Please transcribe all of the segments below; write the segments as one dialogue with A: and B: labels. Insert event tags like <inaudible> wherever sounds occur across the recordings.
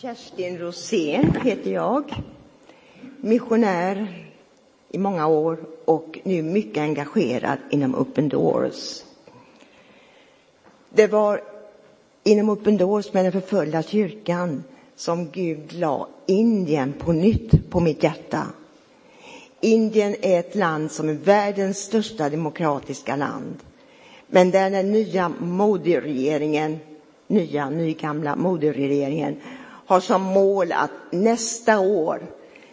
A: Kerstin Rosén heter jag. Missionär i många år och nu mycket engagerad inom Open Doors. Det var inom Open Doors med den förföljda kyrkan som Gud la Indien på nytt på mitt hjärta. Indien är ett land som är världens största demokratiska land. Men där den nya moderegeringen, nya nygamla moderegeringen har som mål att nästa år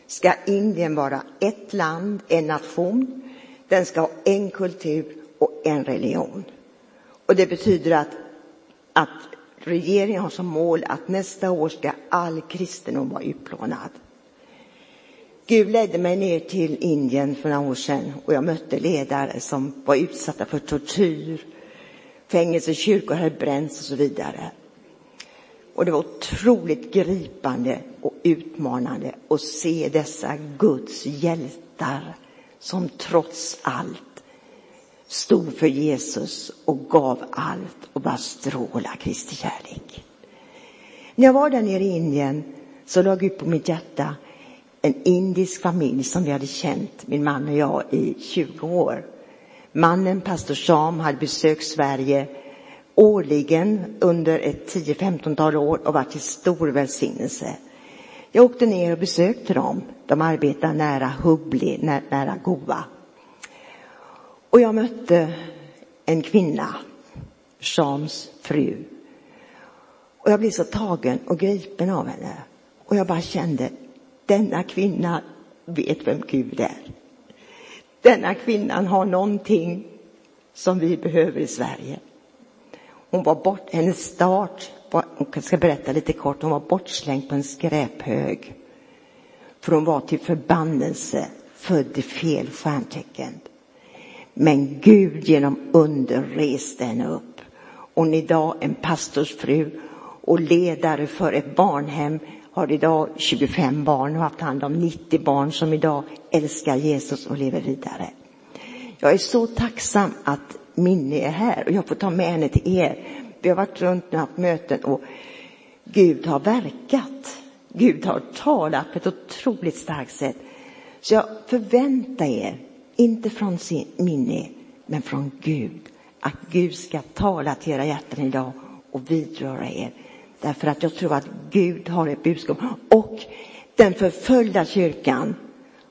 A: ska Indien vara ett land, en nation. Den ska ha en kultur och en religion. Och det betyder att, att regeringen har som mål att nästa år ska all kristendom vara utplånad. Gud ledde mig ner till Indien för några år sedan och jag mötte ledare som var utsatta för tortyr, fängelse, kyrkor hade bränts och så vidare. Och det var otroligt gripande och utmanande att se dessa Guds hjältar som trots allt stod för Jesus och gav allt och bara stråla Kristi kärlek. När jag var där nere i Indien så låg ut på mitt hjärta en indisk familj som vi hade känt, min man och jag, i 20 år. Mannen, pastor Sam, hade besökt Sverige årligen under ett 10-15-tal år och varit till stor välsignelse. Jag åkte ner och besökte dem. De arbetar nära Hubli, nära Goa. Och jag mötte en kvinna, Shams fru. Och jag blev så tagen och gripen av henne. Och jag bara kände, denna kvinna vet vem Gud är. Denna kvinnan har någonting som vi behöver i Sverige. Hon var bort, hennes start, var, jag ska berätta lite kort, hon var bortslängd på en skräphög. För hon var till förbannelse, född i fel stjärntecken. Men Gud genom under reste henne upp. Hon är idag en pastorsfru och ledare för ett barnhem har idag 25 barn och haft hand om 90 barn som idag älskar Jesus och lever vidare. Jag är så tacksam att Minni är här och jag får ta med henne till er. Vi har varit runt och haft möten och Gud har verkat. Gud har talat på ett otroligt starkt sätt. Så jag förväntar er, inte från sin Minni, men från Gud, att Gud ska tala till era hjärtan idag och vidröra er. Därför att jag tror att Gud har ett budskap. Och den förföljda kyrkan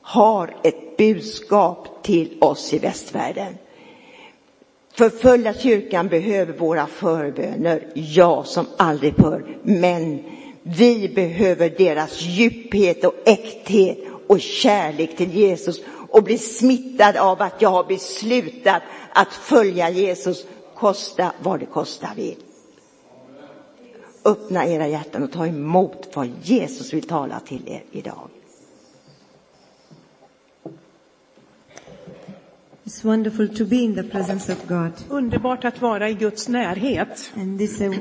A: har ett budskap till oss i västvärlden. Förföljda kyrkan behöver våra förböner, ja, som aldrig förr. Men vi behöver deras djuphet och äkthet och kärlek till Jesus och bli smittad av att jag har beslutat att följa Jesus, kosta vad det kosta vill öppna era hjärtan och ta emot vad Jesus vill tala till er idag.
B: It's wonderful to be in the presence of God
C: Underbart att vara i Guds närhet.
B: and this is a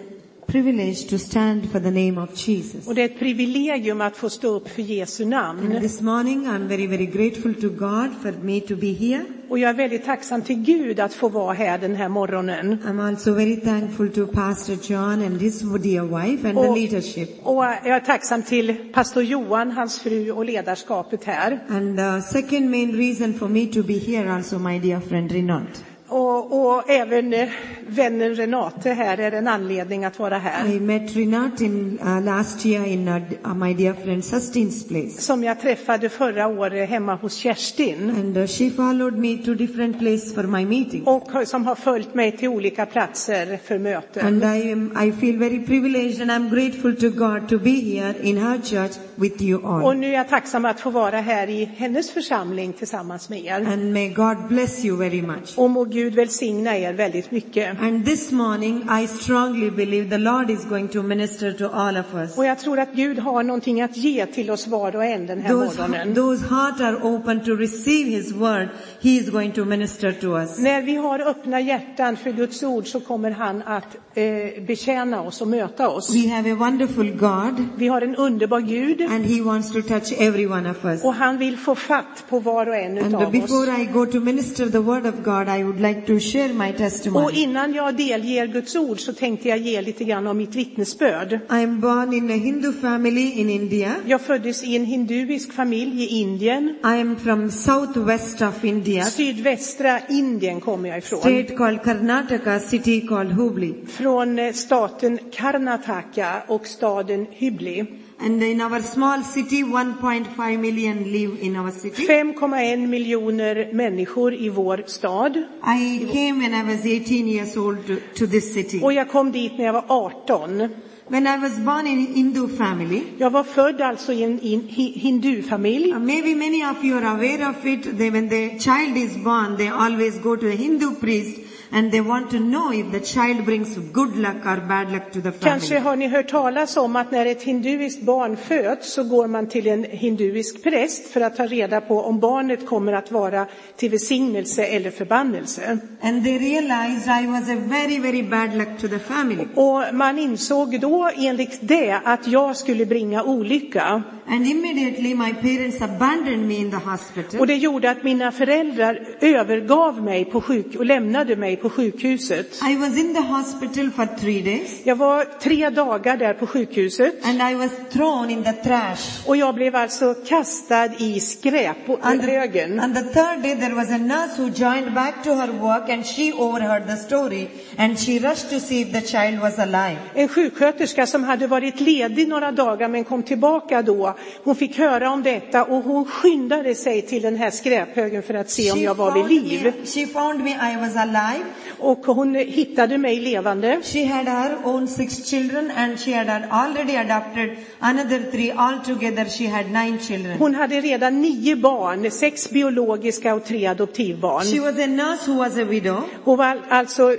B: privilege to stand for the name of Jesus.
C: Och det är ett privilegium att få stå upp för Jesu
B: And
C: namn.
B: this morning I'm very very grateful to God for me to be here.
C: Och jag är väldigt tacksam till Gud att få vara här den här morgonen.
B: I'm also very thankful to Pastor John and his dear wife and the
C: Och,
B: leadership.
C: och jag är tacksam till pastor Johan, hans fru och ledarskapet här.
B: And the second main reason for me to be here also my dear friend Renat.
C: Och, och även eh, vännen Renate här är en anledning att vara här.
B: I met Renat in uh, last year in uh, d- uh, my dear friend Sustin's place.
C: Som jag träffade förra året hemma hos Kerstin.
B: And uh, she followed me to different place for my meeting.
C: Och har- som har följt mig till olika platser för möten.
B: And I am, I feel very privileged and I'm grateful to God to be here in her church with you
C: Och
B: all.
C: nu är jag tacksam att få vara här i hennes församling tillsammans med er.
B: And may God bless you very much.
C: Och må Gud välsigna er väldigt mycket.
B: And this morning I strongly believe the Lord is going to minister to all of us.
C: Och jag tror att Gud har någonting att ge till oss var och en den här
B: Those,
C: morgonen.
B: those hearts are open to receive His word. He is going to minister to us.
C: När vi har öppna hjärtan för Guds ord så kommer han att eh, betjäna oss och möta oss.
B: We have a wonderful God
C: Vi har en underbar Gud
B: and He wants to touch every one of us.
C: och han vill få fatt på var och en
B: And
C: utav
B: before
C: oss.
B: I go to minister the word of God, I would like to share my
C: Och
B: testimony.
C: innan jag delger Guds ord så tänkte jag ge lite grann om mitt vittnesbörd.
B: I am born in a Hindu family in India.
C: Jag föddes i en hinduisk familj i Indien.
B: I am from southwest of India,
C: Sydvästra Indien kommer jag ifrån.
B: state called Karnataka, city called Hubli.
C: Från eh, staten Karnataka och staden Hybli.
B: And in our small city, 1.5 million live in our city.
C: 5,1 miljoner människor i vår stad.
B: I came when I was 18 years old to, to this city.
C: Och jag kom dit när jag var 18.
B: When I was born in Hindu family,
C: Jag var född alltså i en in- hi- hindufamilj.
B: uh, maybe many of you are aware of it, they, when the child is born, they always go to a Hindu priest and they want to know if the child brings good luck or bad luck to the
C: Kanske
B: family.
C: har ni hört talas om att när ett hinduiskt barn föds så går man till en hinduisk präst för att ta reda på om barnet kommer att vara till välsignelse eller förbannelse.
B: And they realized I was a very, very bad luck to the family.
C: Och man insåg då enligt det att jag skulle bringa olycka.
B: And immediately my parents abandoned me in the hospital.
C: Och det gjorde att mina föräldrar övergav mig på sjuk och lämnade mig på sjukhuset.
B: I was in the hospital for three days
C: Jag var tre dagar där på sjukhuset
B: and I was thrown in the trash.
C: och jag blev alltså kastad i skräp och
B: On the,
C: högen.
B: on the third day, there was a nurse who joined back to her work and she overheard the story and she rushed to see if the child was alive.
C: En sjuksköterska som hade varit ledig några dagar men kom tillbaka då. Hon fick höra om detta och hon skyndade sig till den här skräphögen för att se om
B: She
C: jag var vid
B: found
C: liv.
B: me- she found me, I was alive.
C: Och hon hittade mig levande.
B: She had her own six children and she had had already adopted another three. Altogether, she had nine children.
C: Hon hade redan nio barn, sex biologiska och tre
B: She
C: adoptivbarn.
B: was a nurse who was a widow.
C: Hon var alltså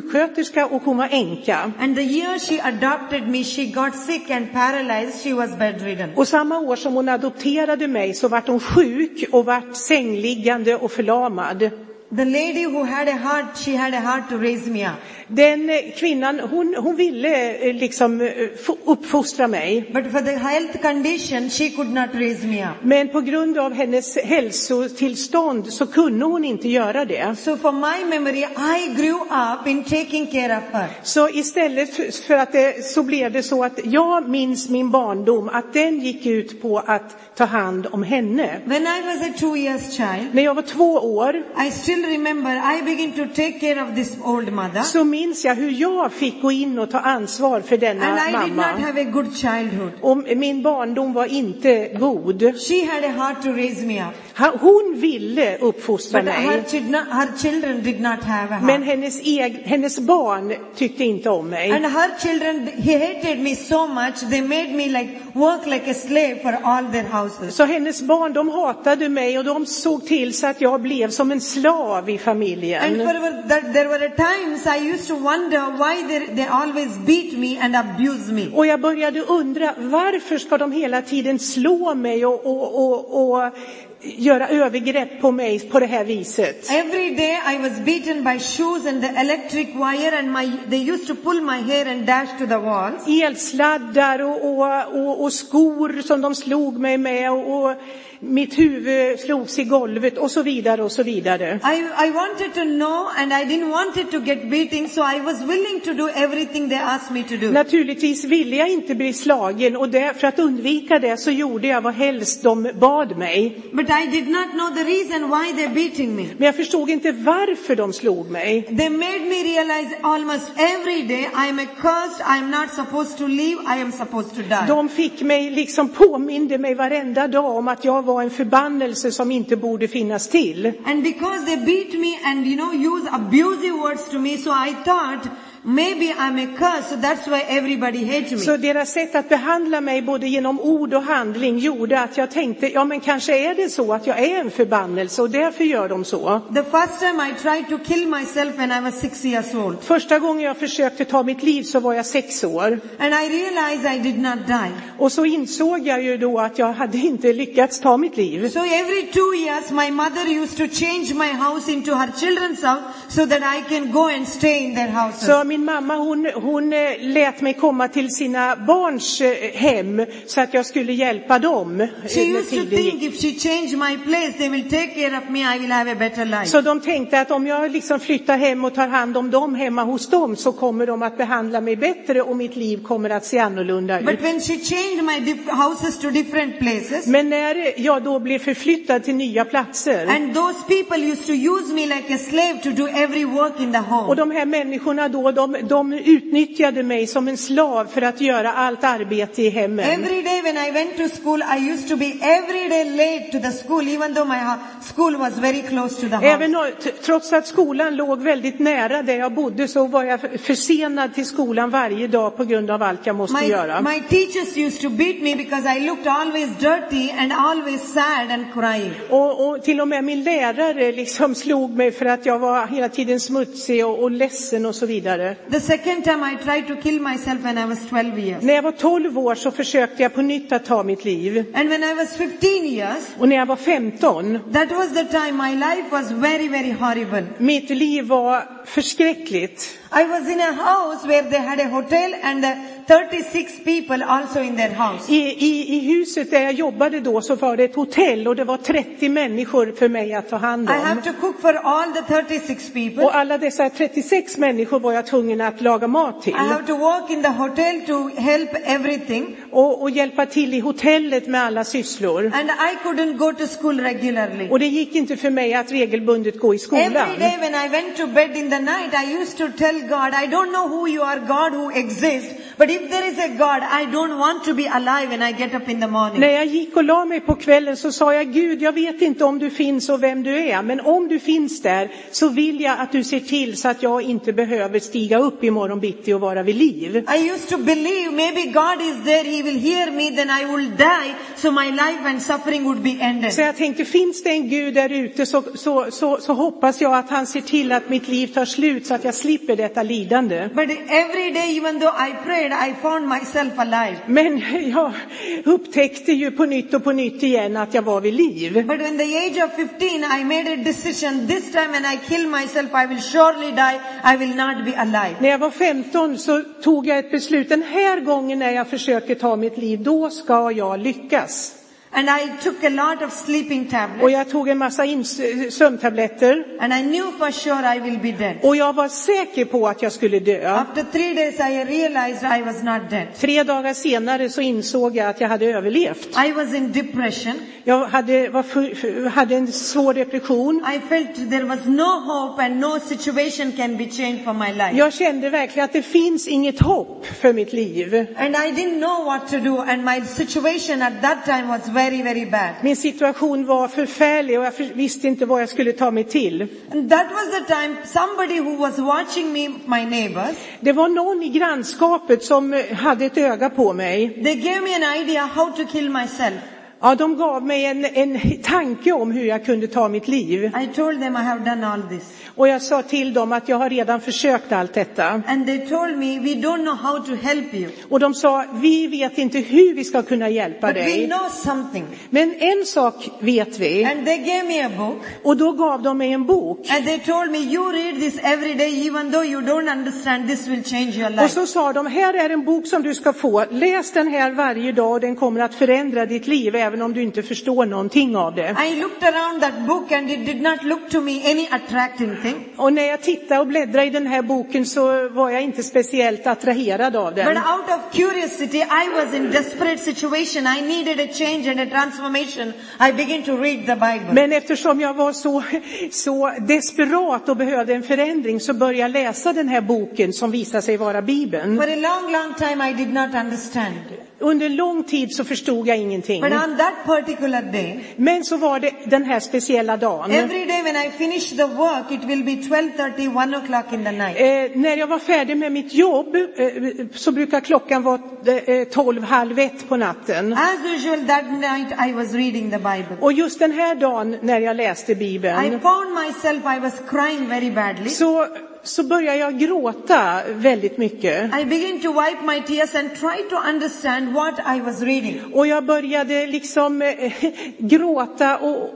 C: sjuksköterska och hon var änka.
B: And the year she adopted me, she got sick and paralyzed. She was bedridden.
C: Och samma år som hon adopterade mig så vart hon sjuk och vart sängliggande och förlamad.
B: The lady who had a heart, she had a heart to raise me up.
C: Den eh, kvinnan, hon, hon ville eh, liksom eh, fo- uppfostra mig.
B: But for the health condition, she could not raise me up.
C: Men på grund av hennes hälsotillstånd så kunde hon inte göra det.
B: So for my memory, I grew up in taking care of her.
C: Så istället för- för att det, så blev det så att jag minns min barndom att den gick ut på att ta hand om henne.
B: When I was a two years child,
C: När jag var två år
B: I still remember I began to take care of this old mother.
C: så minns jag hur jag fick gå in och ta ansvar för denna
B: And I did not
C: mamma.
B: have a good childhood.
C: Och min barndom var inte god.
B: She had a heart to raise me up.
C: Ha- Hon ville uppfostra
B: But her,
C: mig.
B: chidna, her children did not have a
C: Men
B: heart.
C: hennes, eg- hennes barn tyckte inte om mig.
B: And her children, he hated me so much, they made me like, work like a slave for all their houses.
C: Så hennes barn de hatade mig och de såg till så att jag blev som en slav i
B: And
C: familjen.
B: for that, there were times I used to wonder why they, they always beat me and abuse me.
C: Och jag började undra varför ska de hela tiden slå mig och, och, och, och göra övergrepp på mig på det här viset.
B: Every day I was beaten by shoes and the electric wire and my, they used to pull my hair and dash to the walls.
C: Elsladdar och, och, och, och skor som de slog mig med och, och mitt huvud slogs i golvet och så vidare och så vidare.
B: I, I wanted to know and I didn't want it to get beating so I was willing to do everything they asked me to do.
C: Naturligtvis ville jag inte bli slagen och där, för att undvika det så gjorde jag vad helst de bad mig.
B: But I did not know the reason why they're beating me.
C: Men jag förstod inte varför de slog mig.
B: They made me realize almost every day I am accursed, I am not supposed to live, I am supposed to die.
C: De fick mig, liksom påminde mig varenda dag om att jag var en förbannelse som inte borde finnas till.
B: And because they beat me and you know use abusive words to me, so I thought maybe I'm a curse, so that's why everybody hates me.
C: Så deras sätt att behandla mig både genom ord och handling gjorde att jag tänkte, ja men kanske är det så att jag är en förbannelse och därför gör de så.
B: the first time I tried to kill myself when I was six years old,
C: Första gången jag försökte ta mitt liv så var jag sex år.
B: and I realized I did not die.
C: Och så insåg jag ju då att jag hade inte lyckats ta mitt liv.
B: So every two years, my mother used to change my house into her children's house so that I can go and stay in their houses.
C: Så min mamma hon, hon eh, lät mig komma till sina barns eh, hem så att jag skulle hjälpa dem. eh,
B: She
C: när
B: used to
C: tiden gick.
B: think if she changed my place, they will take care of me, I will have a better life.
C: Så de tänkte att om jag liksom flyttar hem och tar hand om dem hemma hos dem så kommer de att behandla mig bättre och mitt liv kommer att se annorlunda ut.
B: But when she changed my diff- houses to different places,
C: Men när jag då blev förflyttad till nya platser
B: and those people used to use me like a slave to do every work in the
C: och
B: home.
C: de här människorna då, de, de utnyttjade mig som en slav för att göra allt arbete i hemmen.
B: Every day when I went to school, I used to be every day late to the school, even though my ho- school was very close to the house.
C: Även o- t- trots att skolan låg väldigt nära där jag bodde så var jag f- försenad till skolan varje dag på grund av allt jag måste
B: My,
C: göra.
B: my teachers used to beat me because I looked always dirty and always sad and crying.
C: Och, och till och med min lärare liksom <laughs> slog mig för att jag var hela tiden smutsig och, och ledsen och så vidare.
B: The second time I tried to kill myself when I was 12 years.
C: När jag var 12 år så försökte jag på nytt att ta mitt liv.
B: And when I was 15 years,
C: Och när jag var 15,
B: that was the time my life was very, very horrible.
C: mitt liv var förskräckligt.
B: I was in a house where they had a hotel and uh, 36 people also in their house.
C: I, i, I huset där jag jobbade då så var det ett hotell och det var 30 människor för mig att ta hand
B: I have
C: om.
B: to cook for all the 36 people.
C: Och alla dessa 36 människor var jag tvungen att laga mat till
B: I have to work in the hotel to help everything.
C: och, och hjälpa till i hotellet med alla sysslor.
B: And I couldn't go to school regularly.
C: Och det gick inte för mig att regelbundet gå i
B: Every
C: skolan.
B: day when I went to bed in the night, I used to tell God, I don't know who you are, God who exists, but if there is a God, I don't want to be alive when I get up in the morning.
C: När jag gick och la mig på kvällen så sa jag Gud, jag vet inte om du finns och vem du är, men om du finns där så vill jag att du ser till så att jag inte behöver stiga upp imorgon bitti och vara vid liv.
B: I used to believe maybe God is there, He will hear me, then I will die, so my life and suffering would be ended.
C: Så jag tänkte, finns det en Gud där ute så, så, så, så hoppas jag att han ser till att mitt liv tar slut så att jag slipper detta lidande.
B: But every day, even though I prayed, I found myself alive.
C: Men jag upptäckte ju på nytt och på nytt igen att jag var vid liv.
B: But in the age of 15, I made a decision, this time when I kill myself, I will surely die, I will not be alive.
C: När jag var 15 så tog jag ett beslut, den här gången när jag försöker ta mitt liv, då ska jag lyckas.
B: And I took a lot of sleeping tablets.
C: Och jag tog en massa ins- sömntabletter.
B: And I knew for sure I will be dead.
C: Och jag var säker på att jag skulle dö.
B: After three days, I realized I was not dead.
C: Tre dagar senare så insåg jag att jag hade överlevt.
B: I was in depression.
C: Jag hade, var fu- fu- hade en svår depression.
B: I felt there was no hope and no situation can be changed for my life.
C: Jag kände verkligen att det finns inget hopp för mitt liv.
B: And I didn't know what to do and my situation at that time was very, very bad.
C: Min situation var förfärlig och jag för- visste inte vad jag skulle ta mig till.
B: And that was the time somebody who was watching me, my neighbors,
C: Det var någon i grannskapet som eh, hade ett öga på mig.
B: they gave me an idea how to kill myself.
C: Ja, de gav mig en, en tanke om hur jag kunde ta mitt liv.
B: I told them I have done all this.
C: Och jag sa till dem att jag har redan försökt allt detta.
B: And they told me, we don't know how to help you,
C: Och de sa, vi vet inte hur vi ska kunna hjälpa
B: but we
C: dig.
B: know something.
C: Men en sak vet vi.
B: And they gave me a book.
C: Och då gav de mig en bok.
B: And they told me, you read this every day, even though you don't understand, this will change your
C: Och
B: life.
C: så sa de, här är en bok som du ska få. Läs den här varje dag och den kommer att förändra ditt liv även om du inte förstår någonting av det.
B: I looked around that book and it did not look to me any attracting thing.
C: Och när jag tittade och bläddrade i den här boken så var jag inte speciellt attraherad av
B: But
C: den.
B: out of curiosity, I was in desperate situation. I needed a change and a transformation. I began to read the Bible.
C: Men eftersom jag var så, så desperat och behövde en förändring så började jag läsa den här boken som visade sig vara Bibeln.
B: For a long, long time, I did not understand.
C: Under lång tid så förstod jag ingenting.
B: But on that particular day,
C: Men så var det den här speciella dagen.
B: every day when I finish the work, it will be 12.30, 1 o'clock in the night.
C: Eh, när jag var färdig med mitt jobb eh, så brukar klockan vara eh, tolv, halv ett på natten.
B: As usual, that night I was reading the Bible.
C: Och just den här dagen när jag läste
B: I
C: Bibeln
B: found myself, I was crying very badly.
C: så, så börjar jag gråta väldigt mycket.
B: I began to wipe my tears and try to understand what I was reading.
C: Och jag började liksom eh, <laughs> gråta och,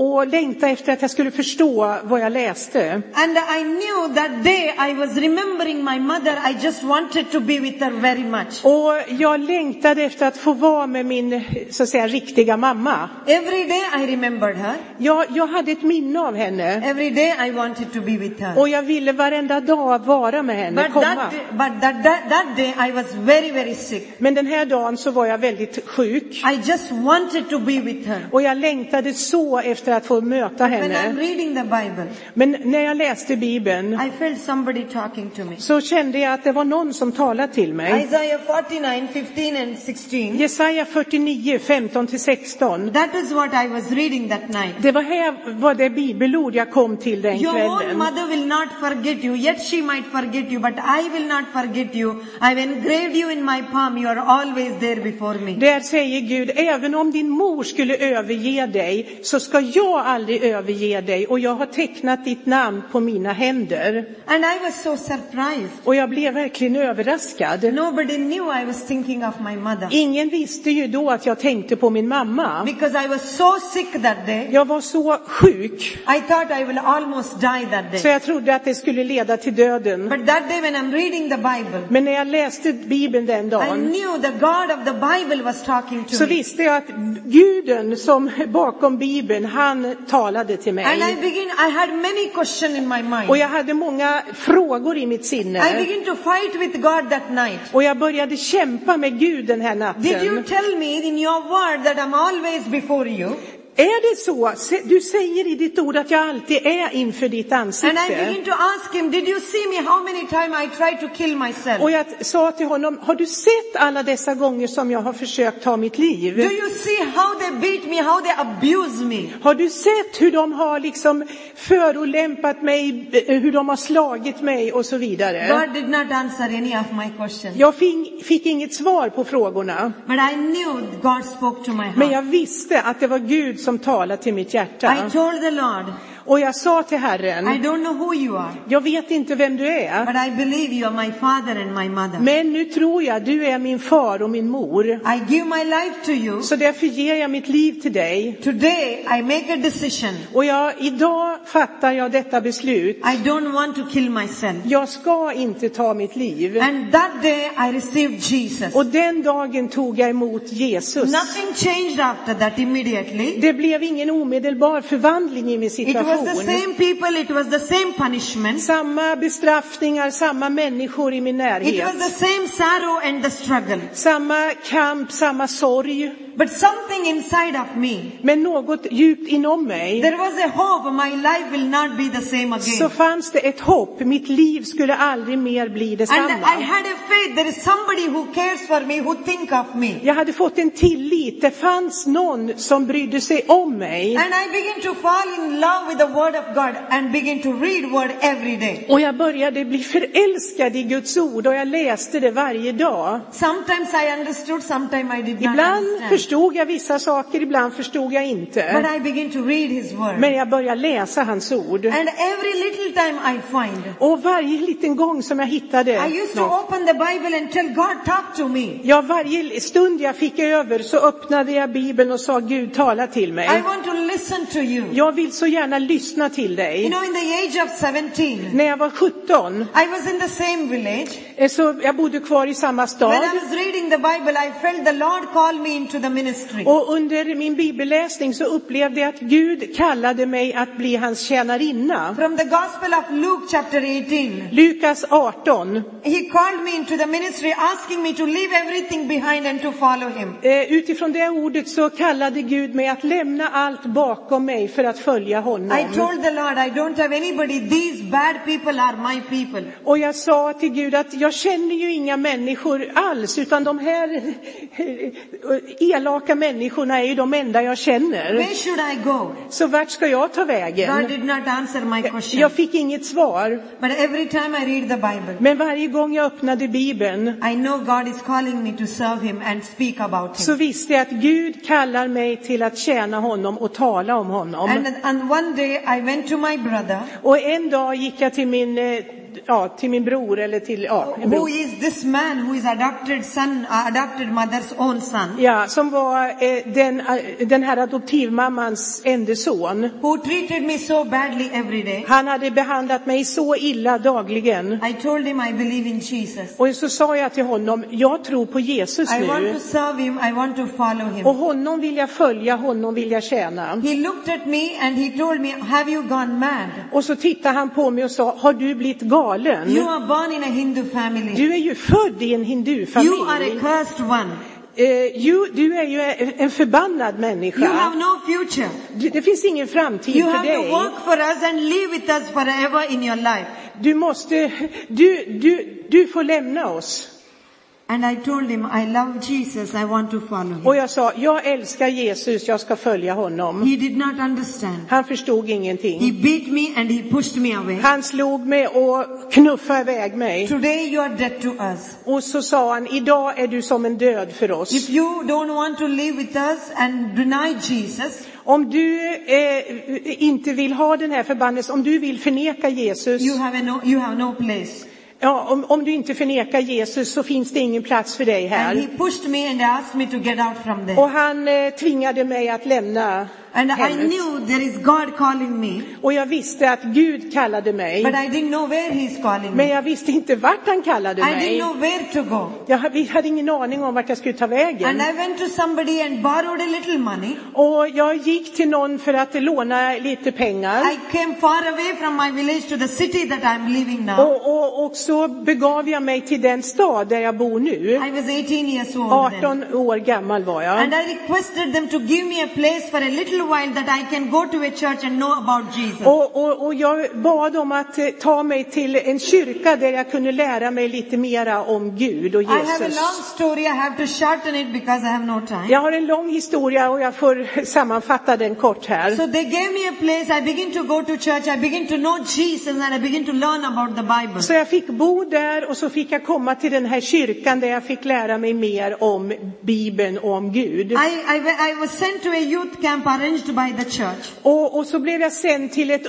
C: och, och längta efter att jag skulle förstå vad jag läste.
B: And I knew that day I was remembering my mother. I just wanted to be with her very much.
C: Och jag längtade efter att få vara med min, så att säga, riktiga mamma.
B: Every day I remembered her.
C: Jag, jag hade ett minne av henne
B: Every day I wanted to be with her.
C: och jag ville varenda dag vara med henne,
B: But
C: komma.
B: that, day, but that, that, that day I was very, very sick.
C: Men den här dagen så var jag väldigt sjuk
B: I just wanted to be with her.
C: och jag längtade så efter att få möta
B: When I'm
C: henne.
B: reading the Bible,
C: Men när jag läste Bibeln
B: I felt somebody talking to me.
C: så kände jag att det var någon som talade till mig.
B: Isaiah 49, 15 and 16.
C: Jesaja 49, 15 till 16.
B: That is what I was reading that night.
C: Det var här var det bibelord jag kom till den
B: Your own
C: kvällen.
B: mother will not forget you, yet she might forget you, but I will not forget you. I've engraved you in my palm, you are always there before me.
C: Där säger Gud, även om din mor skulle överge dig så ska jag aldrig överge dig och jag har tecknat ditt namn på mina händer.
B: And I was so surprised.
C: Och jag blev verkligen överraskad.
B: Nobody knew I was thinking of my mother
C: Ingen visste ju då att jag tänkte på min mamma.
B: because I was so sick that day.
C: Jag var så sjuk
B: I thought I will almost die that
C: så
B: day.
C: jag trodde att det skulle leda till döden.
B: But that day when I'm reading the Bible,
C: Men när jag läste Bibeln den
B: I
C: dagen
B: knew the God of the Bible was talking
C: så
B: to me.
C: visste jag att guden som bakom Bibeln, han talade till
B: And I
C: mig.
B: begin, I had many questions in my mind.
C: Och jag hade många frågor i mitt
B: I
C: sinne.
B: began to fight with God that night.
C: Och jag började kämpa med Gud den här
B: Did you
C: natten.
B: tell me in your word that I'm always before you?
C: Är det så? Se- Du säger i ditt ord att jag alltid är inför ditt
B: And I
C: ansikte.
B: begin to ask him, did you see me how many times I tried to kill myself?
C: Och jag sa till honom, har du sett alla dessa gånger som jag har försökt ta mitt
B: Do
C: liv?
B: you see how they beat me, how they abuse me?
C: Har du sett hur de har liksom förolämpat mig, eh, hur de har slagit mig och så vidare?
B: God did not answer any of my questions.
C: Jag fick, fick inget svar på frågorna,
B: But I knew God spoke to my
C: men jag
B: heart.
C: visste att det var Gud som talade till mitt
B: I
C: hjärta.
B: told the Lord,
C: Och jag sa till
B: I
C: Herren,
B: don't know who you are,
C: jag vet inte vem du är,
B: but I believe you are my father and my mother.
C: men nu tror jag du är min far och min mor.
B: I give my life to you.
C: Så därför ger jag mitt liv till dig.
B: Today I make a decision.
C: Och jag, idag fattar jag detta beslut.
B: I don't want to kill myself.
C: Jag ska inte ta mitt liv.
B: And that day I received Jesus.
C: Och den dagen tog jag emot Jesus.
B: Nothing changed after that immediately.
C: Det blev ingen omedelbar förvandling i min
B: It was the
C: situation.
B: same people, it was the same punishment,
C: Samma bestraffningar, samma människor i min
B: it was
C: närhet.
B: the same sorrow and the struggle.
C: Samma kamp, samma sorg.
B: But something inside of me,
C: Men något djupt inom mig
B: there was a hope my life will not be the same
C: så
B: again.
C: fanns det ett hopp. Mitt liv skulle aldrig mer bli
B: And I
C: detsamma.
B: had a faith, there is somebody who cares for me, who think of me.
C: Jag hade fått en tillit. Det fanns någon som brydde sig om mig.
B: And I began to fall in love with the word of God and begin to read word every day.
C: Och jag började bli förälskad i Guds ord och jag läste det varje dag.
B: Sometimes I understood, sometimes I did not
C: Ibland
B: understand.
C: förstod jag vissa saker, ibland förstod jag
B: But
C: inte.
B: I begin to read his word.
C: Men jag började läsa hans ord.
B: And every little time I find,
C: Och varje liten gång som jag
B: I
C: hittade
B: used to
C: något,
B: open the Bible and tell God, talk to me.
C: ja, varje stund jag fick över så öppnade jag Bibeln och sa Gud tala till
B: I
C: mig.
B: want to listen to you.
C: Jag vill så gärna lyssna till
B: You
C: dig.
B: know, in the age of 17,
C: När jag var 17
B: I was in the same village.
C: eh, så jag bodde kvar i samma
B: When
C: stad.
B: I was reading the Bible, I felt the Lord call me into the ministry.
C: Och under min bibelläsning så upplevde jag att Gud kallade mig att bli hans tjänarinna.
B: From the Gospel of Luke chapter 18,
C: Lukas 18.
B: he called me into the ministry asking me to leave everything behind and to follow him.
C: Eh, Utifrån det ordet så kallade Gud mig att lämna allt bakom mig för att följa
B: I
C: honom.
B: told the Lord, I don't have anybody. These bad people are my people.
C: Och jag sa till Gud att jag känner ju inga människor alls, utan de här elaka människorna är ju de enda jag känner.
B: Where should I go?
C: Så vart ska jag ta
B: God
C: vägen?
B: did not answer my question.
C: Jag fick inget svar,
B: But every time I read the Bible,
C: men varje gång jag öppnade Bibeln
B: I know God is calling me to serve Him and speak about
C: så
B: Him.
C: visste jag att Gud kallar mig till att tjäna honom och tala om honom.
B: And, and one day I went to my brother
C: Och en dag gick jag till min eh, ja, till min bror eller till, ja, en
B: Who
C: bror.
B: is this man who is adopted son, uh, adopted mother's own son,
C: Ja, som var eh, den, eh, den här adoptivmammans enda son.
B: who treated me so badly every day?
C: Han hade behandlat mig så illa dagligen.
B: I told him I believe in Jesus.
C: Och så sa jag till honom, jag tror på Jesus
B: I want
C: nu.
B: to serve him. I want to follow
C: Och
B: him.
C: honom vill jag följa, honom vill jag tjäna.
B: He looked at me and he told me, have you gone mad?
C: Och så tittade han på mig och sa, har du blivit galen?
B: You are born in a Hindu family.
C: Du är ju född i
B: You
C: en
B: are
C: hindufamilj.
B: a cursed one.
C: Eh, ju- du är ju en förbannad
B: You have
C: människa.
B: no future.
C: Du- Det finns ingen framtid
B: You
C: för
B: have to
C: dig.
B: work for us and live with us forever in your life.
C: Du måste, du, du, du får lämna oss.
B: And I told him, I love Jesus. I want to follow him.
C: Och jag sa, jag älskar Jesus, jag ska följa honom.
B: He did not understand.
C: Han förstod ingenting.
B: He beat me and he pushed me away.
C: Han slog mig och knuffade iväg mig.
B: Today you are dead to us.
C: Och så sa han, idag är du som en död för
B: If
C: oss.
B: you don't want to live with us and deny Jesus,
C: Om du eh, inte vill ha den här förbannelsen, om du vill förneka Jesus,
B: you have a no, you have no place.
C: ja, om, om du inte förnekar Jesus så finns det ingen plats för dig
B: And
C: här.
B: he pushed me and asked me to get out from there.
C: Och han eh, tvingade mig att lämna
B: And I
C: hemmet.
B: knew there is God calling me,
C: Och jag visste att Gud kallade mig.
B: but I didn't know where he's calling
C: Men
B: me.
C: jag visste inte vart han kallade
B: I didn't
C: mig.
B: know where to go.
C: Jag hade- vi hade ingen aning om vart jag skulle ta
B: And
C: vägen.
B: I went to somebody and borrowed a little money.
C: Och jag gick till någon för att låna lite pengar.
B: I came far away from my village to the city that I'm living now.
C: Och, och, och så begav jag mig till den stad där jag bor nu.
B: I was 18 years old then.
C: 18 år gammal var
B: And
C: jag.
B: I requested them to give me a place for a little while that I can go to a church and know about Jesus.
C: Och, och, och jag bad om att eh, ta mig till en kyrka där jag kunde lära mig lite mera om Gud och
B: I have a
C: Jesus.
B: long story. I have to shorten it because I have no time.
C: Jag har en lång historia och jag får sammanfatta den kort här.
B: So they gave me a place. I begin to go to church. I begin to know Jesus and I begin to learn about the Bible.
C: Så jag fick bo där och så fick jag komma till den här kyrkan där jag fick lära mig mer om Bibeln och om Gud.
B: I, I, wa- I was sent to a youth camp arranged by the church.
C: Och, och så blev jag sen till ett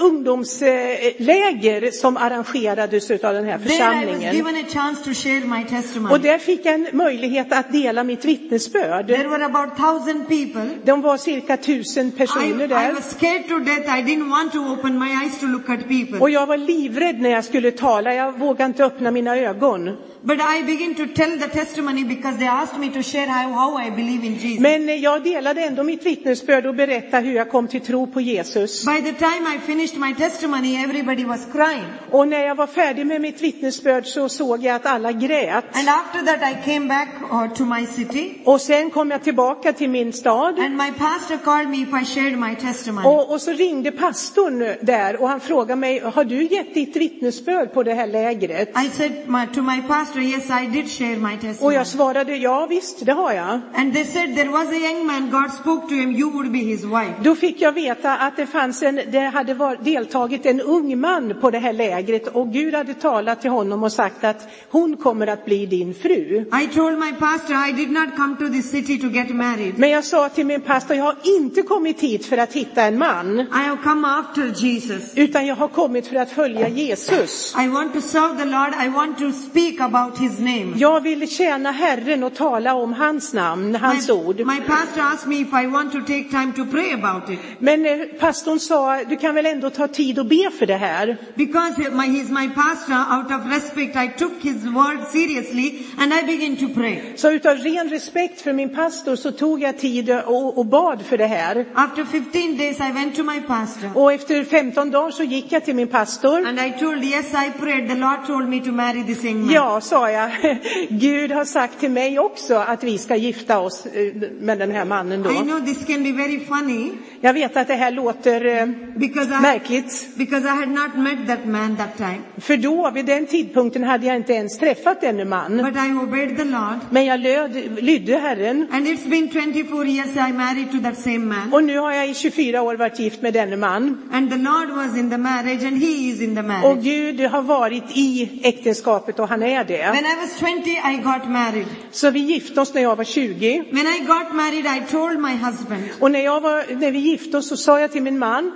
C: ungdomsläger som arrangerades av den här
B: There I was
C: församlingen.
B: given a chance to share my
C: Och
B: testimony.
C: där fick jag en möjlighet att dela mitt vittnesbörd.
B: There were about thousand people.
C: De var cirka tusen personer
B: I, I
C: där.
B: was scared to death. I didn't want to open my eyes to look at people.
C: Och jag var livrädd när jag skulle tala, jag vågade inte öppna mina ögon.
B: But I begin to tell the testimony because they asked me to share how, how I believe in Jesus.
C: Men eh, jag delade ändå mitt vittnesbörd och berättade hur jag kom till tro på Jesus.
B: By the time I finished my testimony, everybody was crying.
C: Och när jag var färdig med mitt vittnesbörd så såg jag att alla grät.
B: And after that, I came back uh, to my city.
C: Och sen kom jag tillbaka till min stad.
B: And my pastor called me if I shared my testimony.
C: Och, och så ringde pastorn där och han frågade mig, har du gett ditt vittnesbörd på det här lägret?
B: I said my, to my pastor, yes, I did share my
C: Och
B: testimony.
C: jag svarade, ja visst, det har jag.
B: And they said there was a young man, God spoke to him, you would be his wife.
C: Då fick jag veta att det fanns en, det hade var, deltagit en ung man på det här lägret och Gud hade talat till honom och sagt att hon kommer att bli din fru.
B: I told my pastor I did not come to this city to get married.
C: Men jag sa till min pastor, jag har inte kommit hit för att hitta en man,
B: I have come after Jesus.
C: utan jag har kommit för att följa Jesus.
B: I want to serve the Lord. I want to speak about his name.
C: Jag vill tjäna Herren och tala om hans namn, hans ord.
B: My pastor asked me if I want to take time to pray about it
C: Men eh, pastorn sa, du kan väl ändå ta tid och be för det här?
B: because my, he's my pastor. Out of respect, I took his word seriously and I began to pray.
C: Så utav ren respekt för min pastor så tog jag tid och, och bad för det här.
B: After 15 days, I went to my pastor
C: Och efter 15 dagar så gick jag till min pastor.
B: and I told, yes, I prayed. The Lord told me to marry this young man.
C: Ja, sa jag, <laughs> Gud har sagt till mig också att vi ska gifta oss eh, med den här mannen
B: I
C: då.
B: know this can be very funny
C: Jag vet att det här låter eh,
B: because I,
C: märkligt.
B: because I had not met that man that time,
C: För då, vid den tidpunkten, hade jag inte ens träffat denne man.
B: but I obeyed the Lord.
C: Men jag löd, lydde Herren.
B: And it's been 24 years I married to that same man.
C: Och nu har jag i 24 år varit gift med denne man.
B: And the Lord was in the marriage and he is in the marriage.
C: Och Gud har varit i äktenskapet och han är det.
B: When I was 20, I got married.
C: Så vi gifte oss när jag var 20.
B: When I got married, I told my husband,
C: Och när, jag var, när vi gifte oss så sa jag till min man,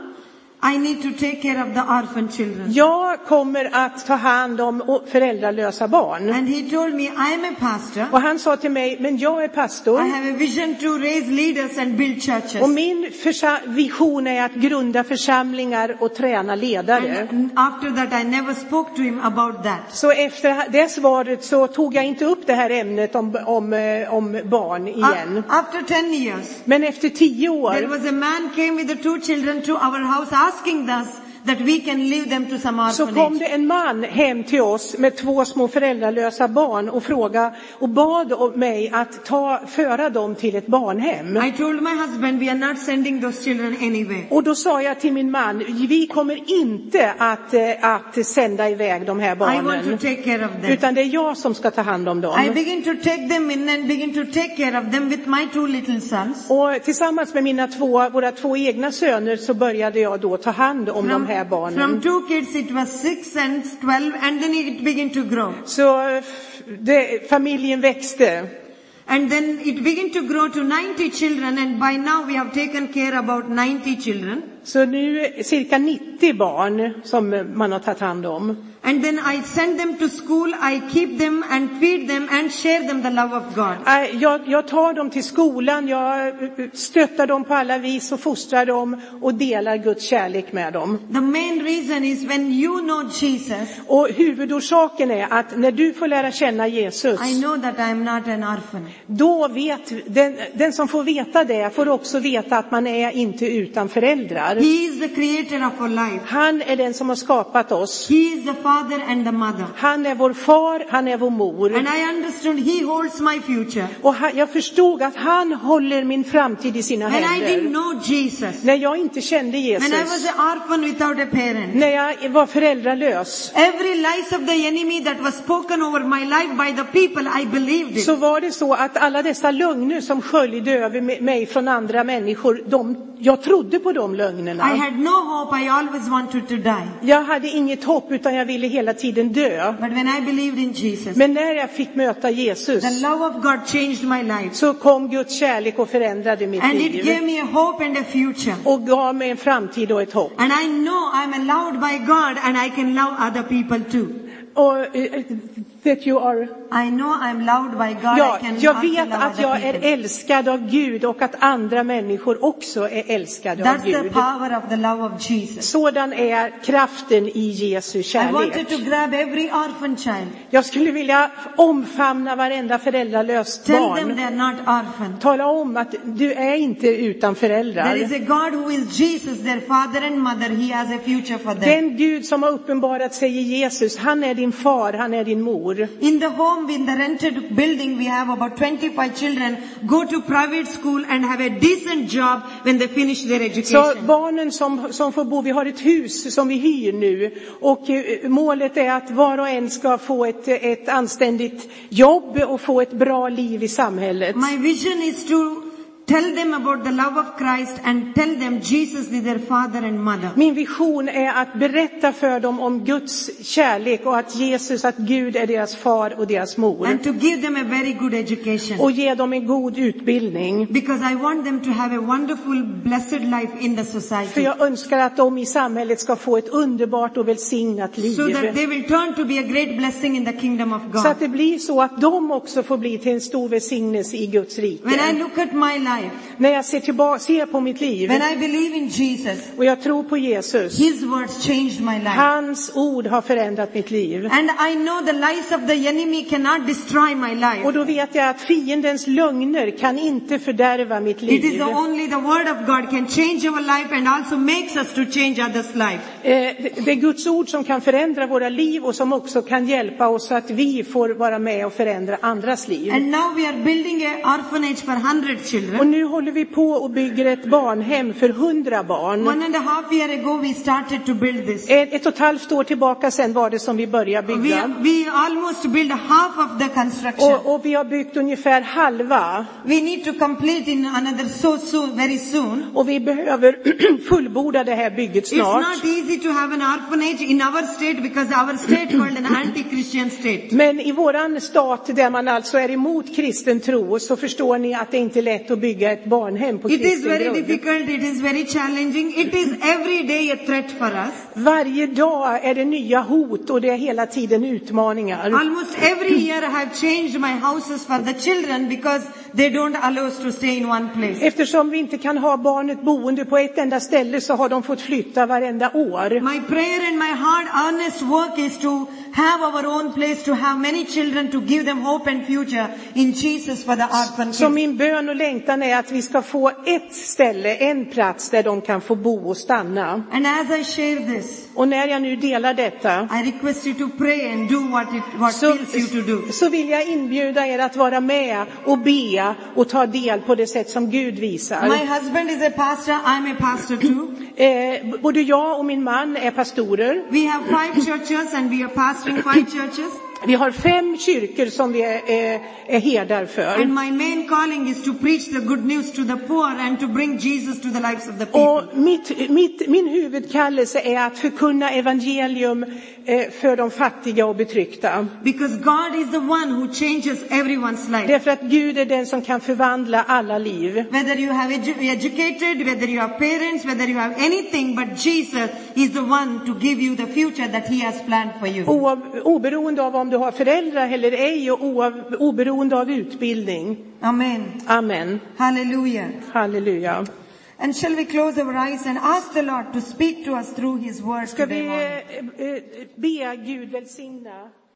B: I need to take care of the orphan children.
C: Jag kommer att ta hand om o- föräldralösa barn.
B: And he told me, I am a pastor.
C: Och han sa till mig, men jag är pastor
B: I have a vision to raise leaders and build churches.
C: och min försa- vision är att grunda församlingar och träna ledare.
B: And after that, I never spoke to him about that.
C: Så efter det svaret så tog jag inte upp det här ämnet om, om, eh, om barn igen.
B: A- After 10 years,
C: Men efter tio
B: there
C: år
B: was a man came with the two children to our house asking us that we can leave them to some
C: så kom
B: orphanage.
C: det en man hem till oss med två små föräldralösa barn och frågade och bad om mig att ta, föra dem till ett barnhem.
B: I told my husband, we are not sending those children anywhere.
C: Och då sa jag till min man, vi kommer inte att, eh, att sända iväg de här
B: I want to
C: barnen.
B: take care of them.
C: Utan det är jag som ska ta hand om
B: I
C: dem.
B: begin to take them in and begin to take care of them with my two little sons.
C: Och tillsammans med mina två, våra två egna söner så började jag då ta hand om de
B: From,
C: här
B: from
C: barnen.
B: two kids, it was six and twelve, and then it began to grow.
C: Så eh, f- det, familjen växte.
B: And then it began to grow to 90 children, and by now we have taken care about 90 children.
C: Så nu eh, cirka 90 barn som eh, man har tagit hand om.
B: And then I send them to school, I keep them and feed them and share them the love of God.
C: Eh, Jag, jag tar dem till skolan, jag eh, stöttar dem på alla vis och fostrar dem och delar Guds kärlek med dem.
B: The main reason is when you know Jesus,
C: Och huvudorsaken är att när du får lära känna Jesus,
B: I know that I am not an orphan.
C: då vet den, den som får veta det, får också veta att man är inte utan föräldrar.
B: He is the creator of our life.
C: Han är den som har skapat oss.
B: He is the father and the mother.
C: Han är vår far, han är vår mor.
B: And I understood he holds my future.
C: Och han, jag förstod att han håller min framtid i sina
B: When I didn't
C: händer.
B: know Jesus,
C: När jag inte kände
B: when I was
C: Jesus,
B: an orphan without a parent,
C: när jag var föräldralös,
B: Every lies of the enemy that was spoken over my life by the people, I believed
C: så
B: it.
C: var det så att alla dessa lögner som sköljde över mi- mig från andra människor, de, jag trodde på de lögnerna.
B: I had no hope. I always wanted to die.
C: Jag hade inget hopp utan jag ville hela tiden dö.
B: But when I believed in Jesus,
C: Men när jag fick möta
B: the
C: Jesus
B: love of God changed my life.
C: så kom Guds kärlek och förändrade mitt
B: And it gave
C: liv
B: me a hope and a future.
C: och gav mig en framtid och ett hopp.
B: And I know I'm allowed by God and I can love other people too.
C: Och, eh, that you are...
B: I know I'm loved by God.
C: Ja,
B: I can
C: jag
B: also
C: vet
B: love
C: att
B: other
C: jag är
B: people.
C: älskad av Gud och att andra människor också är älskade av
B: That's the
C: Gud.
B: power of the love of Jesus.
C: Sådan är kraften i Jesu
B: I wanted
C: kärlek.
B: to grab every orphan child.
C: Jag skulle vilja omfamna varenda föräldralöst
B: Tell them
C: barn.
B: they're not orphans.
C: Tala om att du är inte utan
B: There
C: föräldrar.
B: is a God who is Jesus, their father and mother. He has a future for them.
C: Den Gud som har uppenbarat sig i Jesus, han är din far, han är din mor.
B: In the home, in the rented building, we have about 25 children go to private school and have a decent job when they finish their
C: Så
B: education.
C: barnen som, som får bo, vi har ett hus som vi hyr nu och eh, målet är att var och en ska få ett, eh, ett anständigt jobb och få ett bra liv i samhället.
B: My vision is to tell them about the love of Christ and tell them Jesus is their father and mother.
C: Min vision är att berätta för dem om Guds kärlek och att Jesus, att Gud är deras far och deras mor.
B: And to give them a very good education.
C: Och ge dem en god utbildning.
B: Because I want them to have a wonderful, blessed life in the
C: För
B: society.
C: jag önskar att de i samhället ska få ett underbart och välsignat liv.
B: So that they will turn to be a great blessing in the kingdom of
C: Så
B: God.
C: att det blir så att de också får bli till en stor välsignelse i Guds rike.
B: When I look at my life,
C: När jag ser, tillbaka, ser på mitt liv
B: when I believe in Jesus,
C: och jag tror på Jesus,
B: His words changed my life.
C: hans ord har förändrat mitt liv.
B: And I know the lies of the enemy cannot destroy my life.
C: Och då vet jag att fiendens lögner kan inte fördärva mitt
B: It is
C: liv.
B: the only the word of God can change our life and also makes us to change others' life.
C: Eh, det- Det är Guds ord som kan förändra våra liv och som också kan hjälpa oss så att vi får vara med och förändra andras liv.
B: And now we are building an orphanage for 100
C: Och
B: children.
C: nu håller vi på och bygger ett barnhem för hundra barn.
B: One and a half year ago we started to build this.
C: Ett ett och ett halvt år tillbaka sen var det som vi började
B: We,
C: bygga.
B: we almost built half of the construction.
C: Och, och vi har byggt ungefär halva
B: We need to complete in another so soon, very soon.
C: och vi behöver <clears throat> fullborda det här bygget
B: It's
C: snart.
B: not easy to have an orphanage in our state because our state called <clears throat> an anti-Christian state.
C: Men i våran stat där man alltså är emot kristen tro så förstår ni att det inte är lätt att bygga ett barnhem på
B: It is
C: kristen
B: very
C: grund.
B: difficult, it is very challenging, it is every day a threat for us.
C: Varje dag är det nya hot och det är hela tiden utmaningar.
B: Almost every year I have changed my houses for the children because they don't allow us to stay in one place.
C: Eftersom vi inte kan ha barnet boende på ett enda ställe så har de fått flytta varenda år.
B: My prayer and my hard earnest work is to have our own place, to have many children, to give them hope and future in Jesus for the orphan
C: Så
B: kids.
C: min bön och längtan är att vi ska få ett ställe, en plats där de kan få bo och stanna.
B: And as I share this,
C: Och när jag nu delar detta
B: I request you to pray and do what it, what
C: så,
B: feels you to do.
C: så vill jag inbjuda er att vara med och be och ta del på det sätt som Gud visar.
B: My husband is a pastor, I'm a pastor too.
C: Eh, både jag och min man är pastorer.
B: We have five churches and we are pastoring five churches.
C: Vi har fem kyrkor som vi är, är, är herdar för.
B: And my main calling is to preach the good news to the poor and to bring Jesus to the lives of the people.
C: Och mitt, mitt, min huvudkallelse är att förkunna evangelium eh, för de fattiga och betryckta.
B: Because God is the one who changes everyone's life.
C: Därför att Gud är den som kan förvandla alla liv.
B: Whether you have edu- educated, whether you have parents, whether you have anything, but Jesus is the one to give you the future that He has planned for you.
C: Oav, oberoende av om du har föräldrar eller ej och oav, oberoende av utbildning.
B: Amen.
C: Amen.
B: Hallelujah.
C: Halleluja.
B: And shall we close our eyes and ask the Lord to speak to us through His word
C: Ska
B: today
C: vi
B: morning?
C: eh, eh, be Gud välsigna